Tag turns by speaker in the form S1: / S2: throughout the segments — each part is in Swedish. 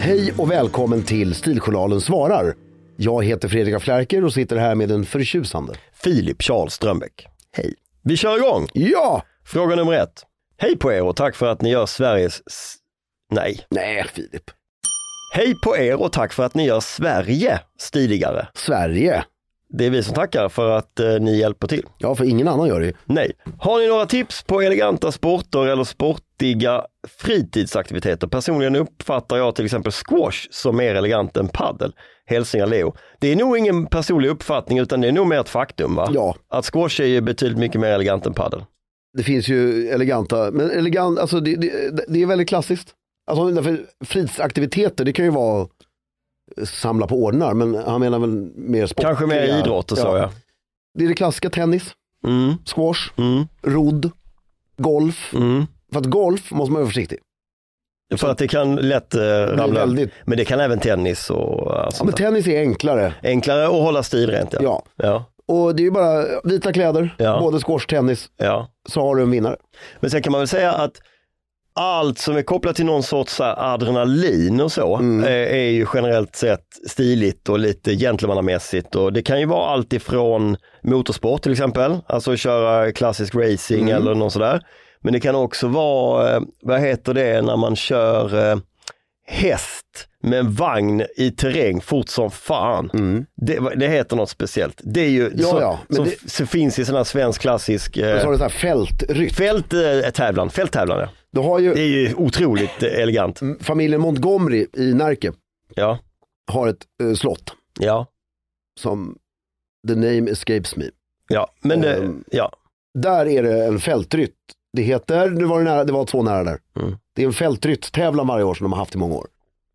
S1: Hej och välkommen till Stiljournalen svarar. Jag heter Fredrik af Flärker och sitter här med en förtjusande.
S2: Filip Charles Strömbäck. Hej. Vi kör igång.
S1: Ja!
S2: Fråga nummer ett. Hej på er och tack för att ni gör Sveriges... s- Nej.
S1: Nej, Filip.
S2: Hej på er och tack för att ni gör Sverige stiligare.
S1: Sverige.
S2: Det är vi som tackar för att eh, ni hjälper till.
S1: Ja, för ingen annan gör det.
S2: Nej. Har ni några tips på eleganta sporter eller sportiga fritidsaktiviteter? Personligen uppfattar jag till exempel squash som mer elegant än paddel. Hälsningar Leo. Det är nog ingen personlig uppfattning utan det är nog mer ett faktum va?
S1: Ja.
S2: Att squash är ju betydligt mycket mer elegant än paddel.
S1: Det finns ju eleganta, men elegant, alltså det, det, det är väldigt klassiskt. Alltså därför fritidsaktiviteter, det kan ju vara samla på ordnar, men han menar väl mer sport.
S2: Kanske mer
S1: Ja.
S2: idrotter sa jag.
S1: Det är det klassiska, tennis,
S2: Mm,
S1: squash,
S2: mm,
S1: rodd, golf.
S2: mm.
S1: För att golf måste man vara försiktig.
S2: För att det kan lätt eh, ramla.
S1: väldigt-
S2: Men det kan även tennis och allt
S1: Ja,
S2: sånt
S1: men
S2: där.
S1: tennis är enklare.
S2: Enklare att hålla stil rent ja.
S1: Ja.
S2: Ja,
S1: Och det är ju bara vita kläder,
S2: Ja.
S1: både squash, tennis,
S2: ja.
S1: så har du en vinnare.
S2: Men sen kan man väl säga att allt som är kopplat till någon sorts så här adrenalin och så
S1: Mm.
S2: eh, är ju generellt sett stiligt och lite gentlemannamässigt och det kan ju vara allt ifrån motorsport till exempel, alltså att köra klassisk racing
S1: Mm.
S2: eller något sådär. Men det kan också vara, eh, vad heter det när man kör eh, häst med en vagn i terräng fort som fan. Det, det heter något speciellt. Det är ju
S1: Mm. Ja,
S2: som,
S1: ja, men
S2: som
S1: det-
S2: f- så finns i sån här svensk klassisk eh,
S1: Och så har du så här fältrytm.
S2: Fälttävlan, fälttävlan ja.
S1: Du har
S2: eh, Det
S1: ju
S2: är ju otroligt eh, elegant.
S1: familjen Montgomery i Närke
S2: Ja,
S1: har ett eh, slott
S2: ja,
S1: som the name escapes me.
S2: ja. Men det,
S1: Ehm.
S2: ja,
S1: Där är det en fältrytt. Det heter, nu var det, nära, det var två nära där.
S2: Mm.
S1: Det är en fältrytt-tävlan varje år som de har haft i många år.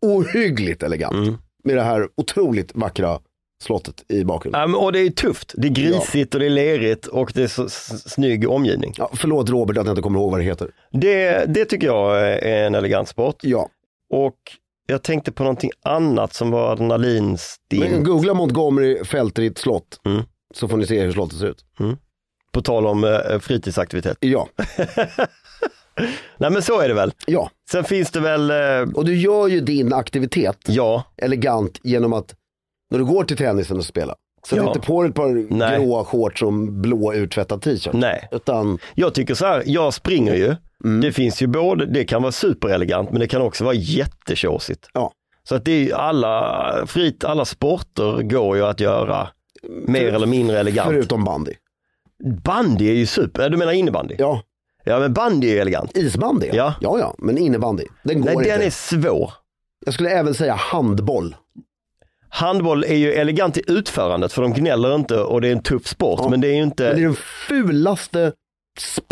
S1: Ohyggligt elegant
S2: Mm.
S1: med det här otroligt vackra slottet i bakgrunden.
S2: Ja, men- och det är tufft. Det är grisigt och det är lerigt och det är så s- snygg omgivning.
S1: Ja, förlåt Robert att jag inte kommer ihåg vad det heter.
S2: Det, det tycker jag är en elegant sport.
S1: Ja,
S2: Och jag tänkte på någonting annat som var
S1: men
S2: adrenalinstinn.
S1: googla Montgomery fältrytt slott
S2: Mm.
S1: så får ni se hur slottet ser ut.
S2: På tal om eh, fritidsaktivitet.
S1: Ja,
S2: Nej men så är det väl.
S1: ja.
S2: Sen finns det väl, eh,
S1: Och du gör ju din aktivitet
S2: ja,
S1: elegant genom att när du går till tennisen och spelar, Sätt
S2: Ja.
S1: inte på dig ett par
S2: Nej.
S1: gråa shorts och en blå urtvättad t-shirt.
S2: Nej.
S1: Utan,
S2: Jag tycker så här, jag springer ju.
S1: Mm.
S2: Det finns ju både, det kan vara superelegant men det kan också vara jättetjåsigt.
S1: ja.
S2: Så att det är ju alla, frit, alla sporter går ju att göra mer eller mindre elegant.
S1: Förutom bandy.
S2: Bandy är ju super, ja, du menar innebandy? Ja,
S1: Ja,
S2: men bandy är ju elegant.
S1: isbandy.
S2: Ja.
S1: ja, ja. men innebandy. Den går
S2: Nej,
S1: inte.
S2: den är svår.
S1: Jag skulle även säga handboll.
S2: Handboll är ju elegant i utförandet för de gnäller inte och det är en tuff sport men det är ju inte,
S1: Men det är den fulaste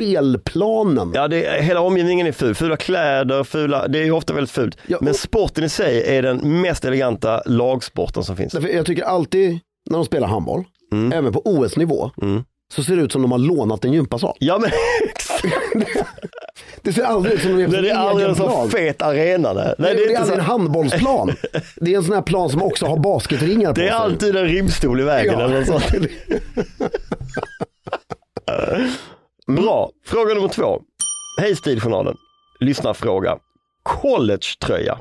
S1: spelplanen.
S2: ja det, är- hela omgivningen är ful, fula kläder, fula, det är ju ofta väldigt fult.
S1: Ja,
S2: men
S1: och-
S2: sporten i sig är den mest eleganta lagsporten som finns.
S1: Därför jag tycker alltid när de spelar handboll,
S2: Mm.
S1: även på OS-nivå, så ser det ut som de har lånat en gympasal.
S2: Ja men exakt,
S1: Alltså, Det ser aldrig ut som de är på
S2: det
S1: sin
S2: är aldrig
S1: egen
S2: en sån
S1: plan.
S2: fet arena där.
S1: Nej,
S2: Nej,
S1: det är,
S2: inte
S1: aldrig
S2: så-
S1: en handbollsplan. Det är en sån här plan som också har basketringar på
S2: Det är
S1: sig.
S2: alltid en rimstol i vägen
S1: Ja.
S2: eller något sånt. Bra, fråga nummer två. Hej Stiljournalen, lyssnarfråga. Collegetröja.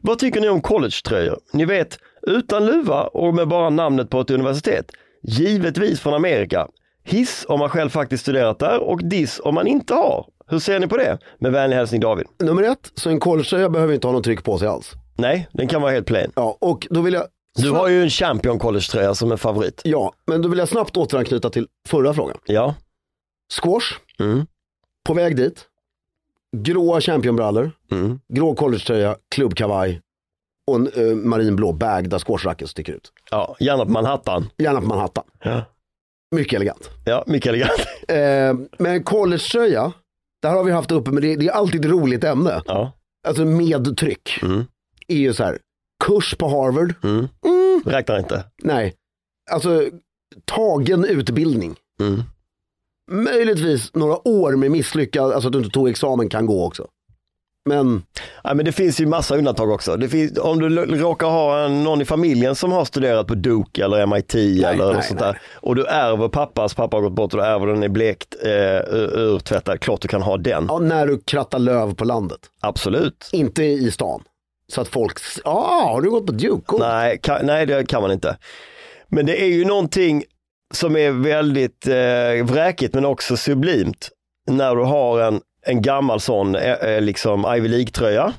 S2: Vad tycker ni om collegetröjor? Ni vet, utan luva och med bara namnet på ett universitet. Givetvis från Amerika. Hiss om man själv faktiskt studerat där och diss om man inte har. Hur ser ni på det? Med vänlig hälsning David.
S1: Nummer ett, så en collegetröja behöver inte ha någon tryck på sig alls.
S2: Nej, den kan vara helt plain.
S1: Ja, och då vill jag...
S2: Du har ju en champion collegetröja som en favorit.
S1: Ja, men då vill jag snabbt återanknyta till förra frågan.
S2: Ja,
S1: Squash,
S2: Mm.
S1: på väg dit. Gråa championbrallor,
S2: Mm.
S1: grå collegetröja, klubbkavaj och en eh, marinblå bag där squashracket sticker ut.
S2: ja gärna på Manhattan.
S1: Gärna på Manhattan.
S2: Ja.
S1: Mycket elegant.
S2: Ja, mycket elegant.
S1: Eh, men collegetröja, där har vi haft uppe, men det, det är alltid ett roligt ämne.
S2: Ja.
S1: Alltså med tryck.
S2: Mm.
S1: Är ju så här, kurs på Harvard.
S2: Mm. Räknar inte.
S1: Nej, alltså tagen utbildning.
S2: Mm.
S1: Möjligtvis några år med misslyckad, alltså att du inte tog examen kan gå också. Men
S2: Ja, men det finns ju massa undantag också. Det finns, om du l- råkar ha en, någon i familjen som har studerat på Duke eller MIT eller
S1: nej,
S2: något sånt där och du ärver pappas, pappa har gått bort och du ärver den i blekt eh, ur- urtvättad, klart du kan ha den.
S1: ja, när du krattar löv på landet,
S2: Absolut.
S1: inte i stan. Så att folk, s- ja ah, har du gått på Duke? Cool.
S2: Nej, ka, nej, det kan man inte. Men det är ju någonting som är väldigt eh, vräkigt men också sublimt när du har en, en gammal sån eh, eh, liksom Ivy League-tröja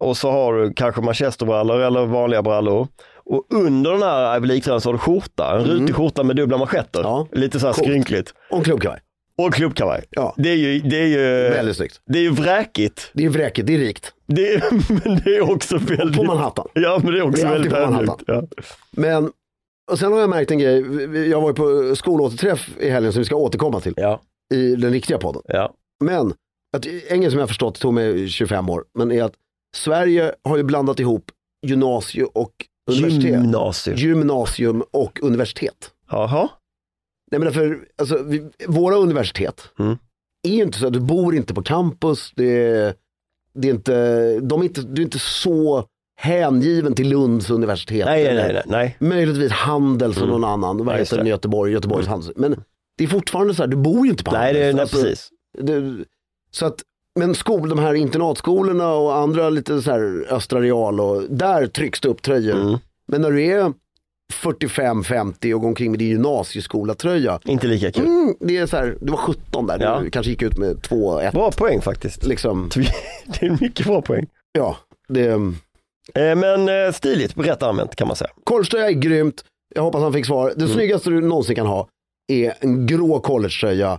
S2: och så har du kanske manchesterbrallor eller vanliga brallor. Och under den här Ivy League-tröjan så har du skjorta, en rutig skjorta med dubbla manschetter.
S1: Mm. Ja.
S2: Lite så här
S1: Coolt.
S2: skrynkligt.
S1: Och en klubbkavaj.
S2: Och klubbkavaj.
S1: Ja.
S2: Det är ju, det är ju,
S1: Väldigt snyggt.
S2: det är ju vräkigt.
S1: Det är vräkigt, det är rikt.
S2: Det är, men det är också väldigt...
S1: På Manhattan.
S2: Ja, men det är också
S1: Det är alltid
S2: väldigt
S1: på Manhattan.
S2: ödmjukt. Ja.
S1: Men och sen har jag märkt en grej, Vi- vi- jag var ju på skolåterträff i helgen som vi ska återkomma till
S2: Ja,
S1: i den riktiga podden.
S2: ja.
S1: Men, att, en grej som jag förstått, det tog mig 25 år, men är att Sverige har ju blandat ihop gymnasium och universitet.
S2: Gymnasium.
S1: Gymnasium och universitet.
S2: Jaha.
S1: Nej men därför, alltså, vi, våra universitet
S2: Mm.
S1: är ju inte så, du bor inte på campus, det är, det är inte, de är inte, du är inte så hängiven till Lunds universitet.
S2: Nej, nej,
S1: eller
S2: nej, nej, nej. Mm.
S1: Möjligtvis handel som någon annan, vad
S2: Ja, just
S1: heter den i
S2: det. Mm.
S1: Göteborg, Göteborgs handel. Men det är fortfarande så här, du bor ju inte på
S2: Nej,
S1: handel.
S2: det är nej,
S1: Alltså,
S2: precis.
S1: det, så att, men skol, de här internatskolorna och andra lite så här Östra Real och där trycks det upp tröjor.
S2: Mm.
S1: Men när du är 45-50 och går omkring med din gymnasieskolatröja,
S2: Inte lika kul.
S1: mm, det är så här, du var 17 där,
S2: Ja.
S1: du kanske gick ut med 2-1.
S2: Bra poäng faktiskt.
S1: Liksom,
S2: Det är en mycket bra poäng.
S1: ja, det, mm.
S2: Eh, Men eh, stiligt, rätt använt kan man säga.
S1: collegetröja är grymt, jag hoppas han fick svar. Det snyggaste du någonsin kan ha är en grå collegetröja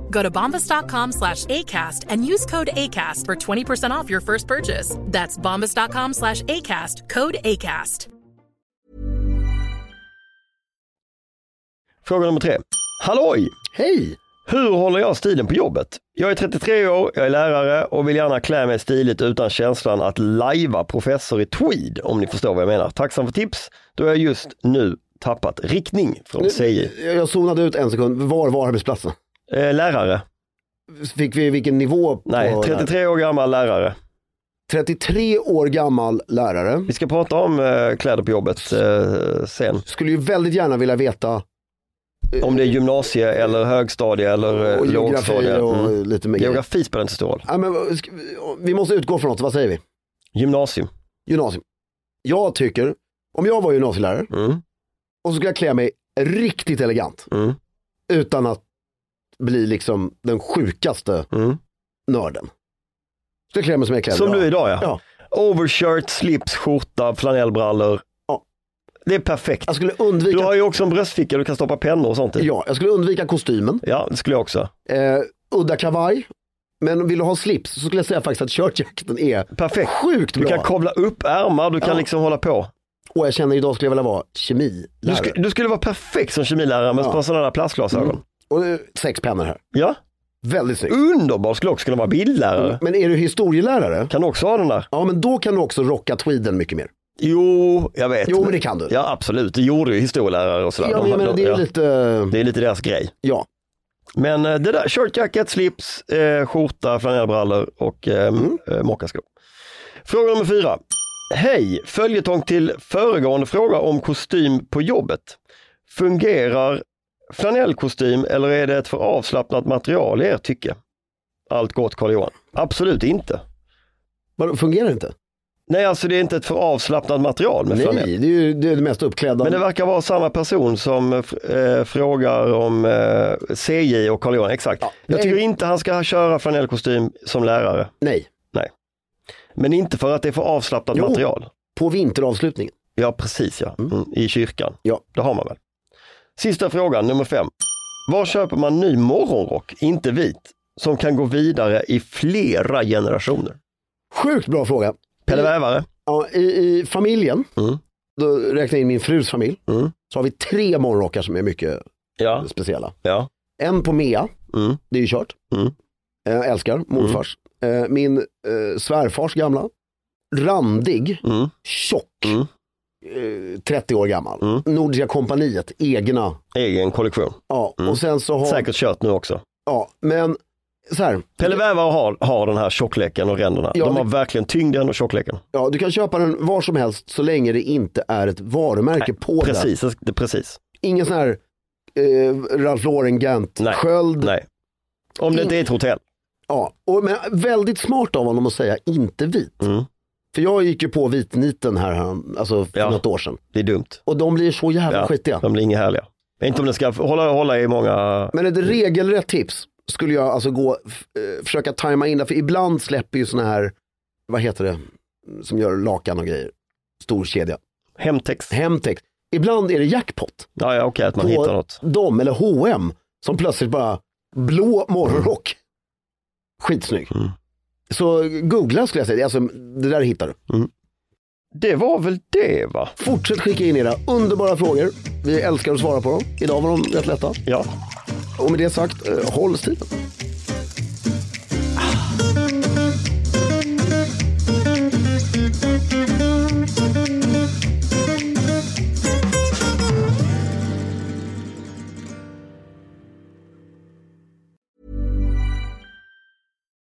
S3: Go to bombas.com slash ACAST and use code ACAST for 20% off your first purchase. That's bombas.com slash ACAST, code ACAST.
S2: Fråga nummer tre. Halloj!
S1: Hej!
S2: Hur håller jag stilen på jobbet? Jag är 33 år, jag är lärare och vill gärna klä mig stiligt utan känslan att lajva professor i tweed, om ni förstår vad jag menar. Tacksam för tips, då jag just nu tappat riktning från CI.
S1: Jag jag zonade ut en sekund. Var var arbetsplatsen?
S2: Eh, lärare,
S1: Fick vi vilken nivå? På
S2: nej,
S1: den?
S2: 33 år gammal lärare.
S1: 33 år gammal lärare.
S2: Vi ska prata om eh, kläder på jobbet eh, sen.
S1: Skulle ju väldigt gärna vilja veta eh,
S2: Om det är gymnasie eller högstadie eller eh,
S1: och geografi
S2: lågstadie.
S1: och
S2: Mm.
S1: lite mer grejer.
S2: Geografi spelar inte så stor roll.
S1: ja, men, vad ska vi- Vi måste utgå från något, vad säger vi?
S2: Gymnasium.
S1: Gymnasium. Jag tycker, om jag var gymnasielärare
S2: Mm.
S1: och så skulle jag klä mig riktigt elegant
S2: Mm.
S1: utan att bli liksom den sjukaste
S2: Mm.
S1: nörden. Skulle jag klä mig som jag klär mig
S2: Som
S1: idag.
S2: du idag ja.
S1: Ja.
S2: Overshirt, slips, skjorta, flanellbrallor.
S1: Ja.
S2: Det är perfekt.
S1: Jag skulle undvika,
S2: Du har ju också en bröstficka du kan stoppa pennor och sånt i.
S1: ja, jag skulle undvika kostymen,
S2: Ja, det skulle jag också.
S1: eh, udda kavaj, men vill du ha slips så skulle jag säga faktiskt att shirtjacketen är
S2: Perfekt.
S1: sjukt
S2: Du
S1: bra.
S2: kan kavla upp ärmar, du kan
S1: Ja.
S2: liksom hålla på.
S1: Och jag känner idag skulle jag vilja vara
S2: Du,
S1: kemilärare.
S2: sku, du skulle vara perfekt som kemilärare med
S1: Ja.
S2: ja. på sådana där plastglasögon.
S1: Och eh, sex pennor här,
S2: Ja,
S1: väldigt snyggt.
S2: underbar skulle också kunna vara bildlärare.
S1: Men är du historielärare,
S2: Kan du också ha den där?
S1: ja men då kan du också rocka tweeden mycket mer.
S2: Jo, jag vet.
S1: Jo men det kan du.
S2: Ja, absolut. Det gjorde ju historielärare och sådär.
S1: Ja,
S2: De-
S1: men jag menar,
S2: de-
S1: det är
S2: ja.
S1: ju lite,
S2: det är lite deras grej.
S1: ja.
S2: Men eh, det där, shirt jacket, slips, eh, skjorta, flanellbrallor och eh, eh, mockaskor. Fråga nummer fyra. Hej, följetong till föregående fråga om kostym på jobbet. Fungerar flanellkostym eller är det ett för avslappnat material i ert tycke? Allt gott Carl-Johan. Absolut inte.
S1: Vadå, Fungerar det inte?
S2: Nej, alltså det är inte ett för avslappnat material med flanell.
S1: Nej, det är ju det, är det mest uppklädda.
S2: Men det verkar vara samma person som eh, fr- eh, frågar om eh, CJ och Carl Johan, exakt. Jag
S1: nej.
S2: tycker inte han ska köra flanellkostym som lärare,
S1: Nej,
S2: men inte för att det är för avslappnat
S1: Jo.
S2: material.
S1: på vinteravslutningen.
S2: Ja, precis ja, mm. i kyrkan.
S1: Ja.
S2: Det har man väl. Sista frågan, nummer fem. Var köper man ny morgonrock, inte vit, som kan gå vidare i flera generationer?
S1: Sjukt bra fråga.
S2: Pelle
S1: Mm.
S2: Vävare,
S1: Ja, i, I familjen,
S2: Mm.
S1: då räknar jag in min frus familj,
S2: Mm.
S1: så har vi tre morgonrockar som är mycket
S2: ja,
S1: speciella.
S2: ja,
S1: En på Mea,
S2: mm.
S1: det är ju kört. Eh,
S2: Mm.
S1: Jag älskar, morfars. Eh, Min eh, svärfars gamla, randig,
S2: Mm.
S1: tjock,
S2: Mm.
S1: eh, 30 år gammal. Nordiska kompaniet, egna.
S2: egen kollektion.
S1: Ja, och sen så har...
S2: Mm. Säkert kört nu också.
S1: Ja, men så här,
S2: Pelle Vävare har, har den här tjockleken och ränderna.
S1: Ja,
S2: de har
S1: det-
S2: verkligen tyngden och tjockleken.
S1: ja, du kan köpa den var som helst så länge det inte är ett varumärke på den.
S2: Precis, det- det, precis.
S1: Ingen sån här eh, Ralph Lauren
S2: Nej.
S1: Gant-sköld.
S2: Nej. Om det inte är ett hotell.
S1: Ja, och, men väldigt smart av honom att säga inte vit.
S2: Mm.
S1: För jag gick ju på vitniten här han- alltså för
S2: Ja.
S1: något år sedan.
S2: Det är dumt.
S1: Och de blir så jävla
S2: Ja,
S1: skitiga.
S2: De blir inga härliga. Inte om den ska hålla, hålla i många...
S1: Men ett regelrätt tips skulle jag alltså gå, f- eh, försöka tajma in det. För ibland släpper ju såna här, vad heter det, som gör lakan och grejer. Stor kedja.
S2: Hemtex.
S1: Hemtex. Ibland är det jackpot.
S2: Ja, ja, okej, att man hittar något.
S1: dem eller H&M som plötsligt bara blå morgonrock. Skitsnygg. Så googla skulle jag säga, alltså, det där hittar du.
S2: Det var väl det va?
S1: Fortsätt skicka in era underbara frågor. Vi älskar att svara på dem. Idag var de rätt lätta.
S2: Ja.
S1: Och med det sagt, eh, håll stilen.